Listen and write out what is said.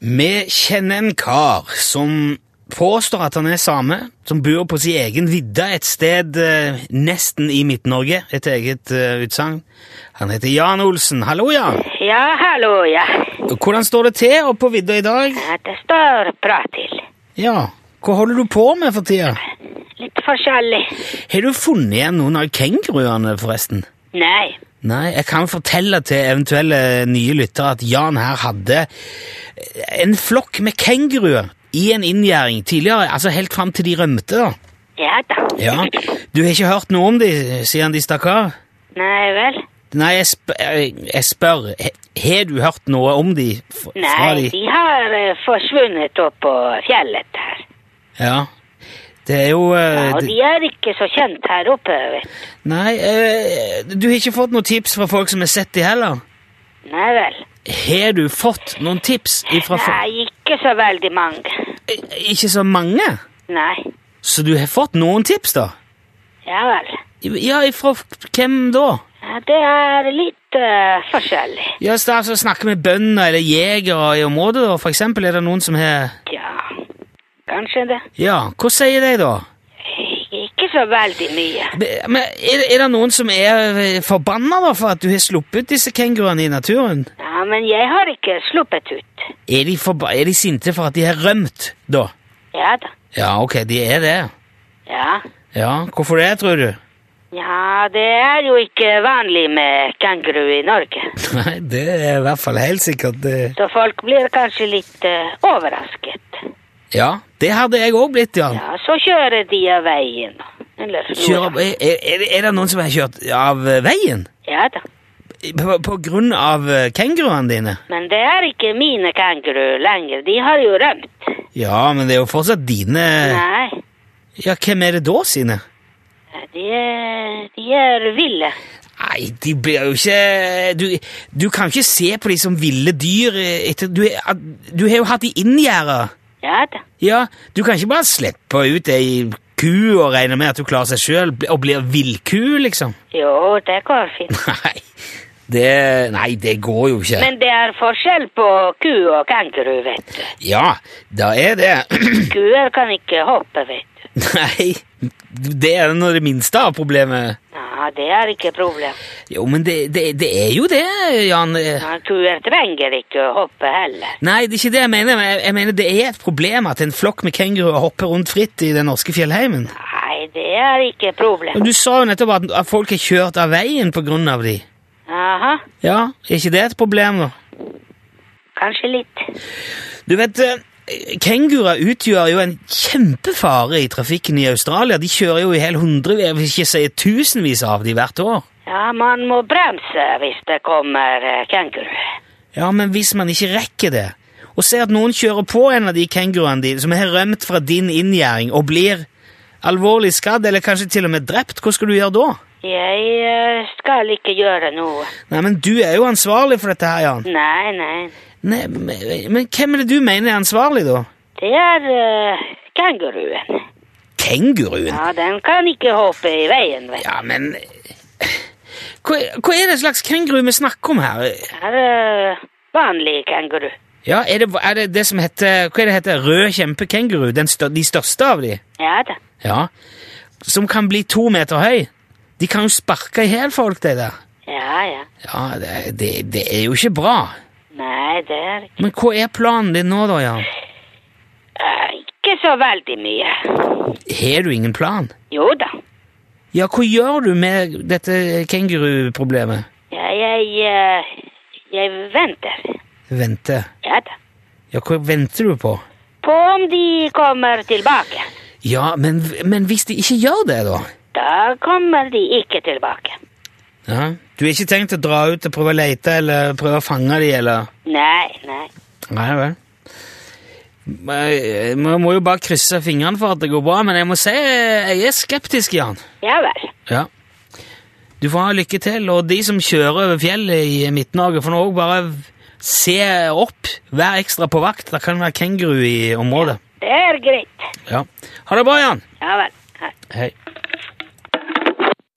Vi kjenner en kar som påstår at han er same, som bor på sin egen vidde et sted eh, nesten i Midt-Norge, et eget eh, utsagn. Han heter Jan Olsen. Hallo, Jan. Ja, hallo, ja. Hvordan står det til oppe på vidda i dag? ja. Det står bra til. Ja, hva holder du på med for tida? Litt forskjellig. Har du funnet igjen noen av kenguruene, forresten? Nei. Nei, jeg kan fortelle til eventuelle nye lyttere at Jan her hadde eh, en flokk med kenguruer i en inngjerding tidligere, altså helt fram til de rømte, da. Ja da. Ja, Du har ikke hørt noe om de siden de stakk av? Nei vel. Nei, jeg, sp jeg jeg spør, he- har du hørt noe om de f- fra Nei, de? de har eh, forsvunnet opp på fjellet her. Ja, det er jo eh, Ja, og d- de er ikke så kjent her oppe, vet du. Nei, eh, du har ikke fått noen tips fra folk som har sett de heller? Nei vel. Har du fått noen tips ifra folk? Nei, ikke så veldig mange. Eh, Ikke så mange? Nei. Så du har fått noen tips, da? Ja vel. Ja, ifra f- hvem da? Ja, det er litt eh, forskjellig. Ja, så altså, Snakker med bønder eller jegere i området, da, for eksempel? Er det noen som har Ja, kanskje det. Ja, hva sier de, da? Ikke så veldig mye. Be- Men er, er det noen som er eh, forbanna da, for at du har sluppet disse kenguruene i naturen? Ja, men jeg har ikke sluppet ut. Er de, forba er de sinte for at de har rømt, da? Ja da. Ja, ok, de er det. Ja. Ja, Hvorfor det, tror du? Ja, det er jo ikke vanlig med kenguru i Norge. Nei, det er i hvert fall helt sikkert eh. det. Så folk blir kanskje litt eh, overrasket. Ja, det hadde jeg òg blitt, ja. Ja, så kjører de av veien. Eller Kjør, er, er, er det noen som har kjørt av eh, veien? Ja da. På, på grunn av eh, kenguruene dine? Men det er ikke mine kenguru lenger. De har jo rømt. Ja, men det er jo fortsatt dine Nei. Ja, hvem er det da sine? De er, de er ville. Nei, de blir jo ikke du, du kan ikke se på de som ville dyr eh, etter Du, at- du har jo hatt de inngjerda. Ja da. Ja, du kan ikke bare slippe ut ei ku og regne med at du klarer seg sjøl og blir villku, liksom. Jo, det går fint. Nei det, nei, det går jo ikke. Men det er forskjell på ku og kenguru, vet du. Ja, da er det Kuer kan ikke hoppe, vet du. Nei, det er nå det minste av problemet. Ja, det er ikke problem. Jo, men det, det, det er jo det, Jan. Ja, Kuer trenger ikke å hoppe heller. Nei, det er ikke det jeg mener. men Jeg, jeg mener det er et problem at en flokk med kenguruer hopper rundt fritt i den norske fjellheimen. Nei, det er ikke problem. Men Du sa jo nettopp at, at folk har kjørt av veien på grunn av de. Aha, Ja, er ikke det et problem, da? kanskje litt. Du vet, eh, kenguruer utgjør jo en kjempefare i trafikken i Australia. De kjører jo i hele hundre, jeg vil ikke si tusenvis av de hvert år. Ja, man må bremse hvis det kommer eh, kenguru. Ja, men hvis man ikke rekker det, og ser at noen kjører på en av de kenguruene dine som har rømt fra din inngjerding og blir alvorlig skadd, eller kanskje til og med drept, hva skal du gjøre da? Jeg eh, skal ikke gjøre noe. Nei, men du er jo ansvarlig for dette her, Jan. Nei, nei. Nei, men, men hvem er det du mener er ansvarlig, da? Det er eh, kenguruen. Kenguruen? Ja, den kan ikke hoppe i veien, vet du. Ja, men hva, hva er det slags kenguru vi snakker om her? Det er eh, vanlig kenguru. Ja, er det, er det det som heter Hva er det heter? Rød kjempekenguru? Den stør, de største av de? Ja da. Ja. Som kan bli to meter høy. De kan jo sparke i hjel folk, de der. Ja, ja. Ja, det, det, det er jo ikke bra. Nei, det er Men hva er planen din nå, da, Jan? eh, ikke så veldig mye. Har du ingen plan? Jo da. Ja, hva gjør du med dette kenguruproblemet? Ja, jeg, eh, jeg venter. Vente. Ja da. Ja, hva venter du på? På om de kommer tilbake. Ja, men, men hvis de ikke gjør det, da? Da kommer de ikke tilbake. Ja. Du har ikke tenkt å dra ut og prøve å lete eller prøve å fange de, eller? Nei, nei. Nei vel. Jeg jeg må jo bare krysse fingrene for at det går bra, men jeg må si eh, jeg er skeptisk, Jan. Ja vel. Ja. Du får ha lykke til, og de som kjører over fjellet i Midt-Norge, får nå også bare se opp. Vær ekstra på vakt, det kan være kenguru i området. Det er greit. Ja. Ha det bra, Jan. Ja vel. Ja. Hei.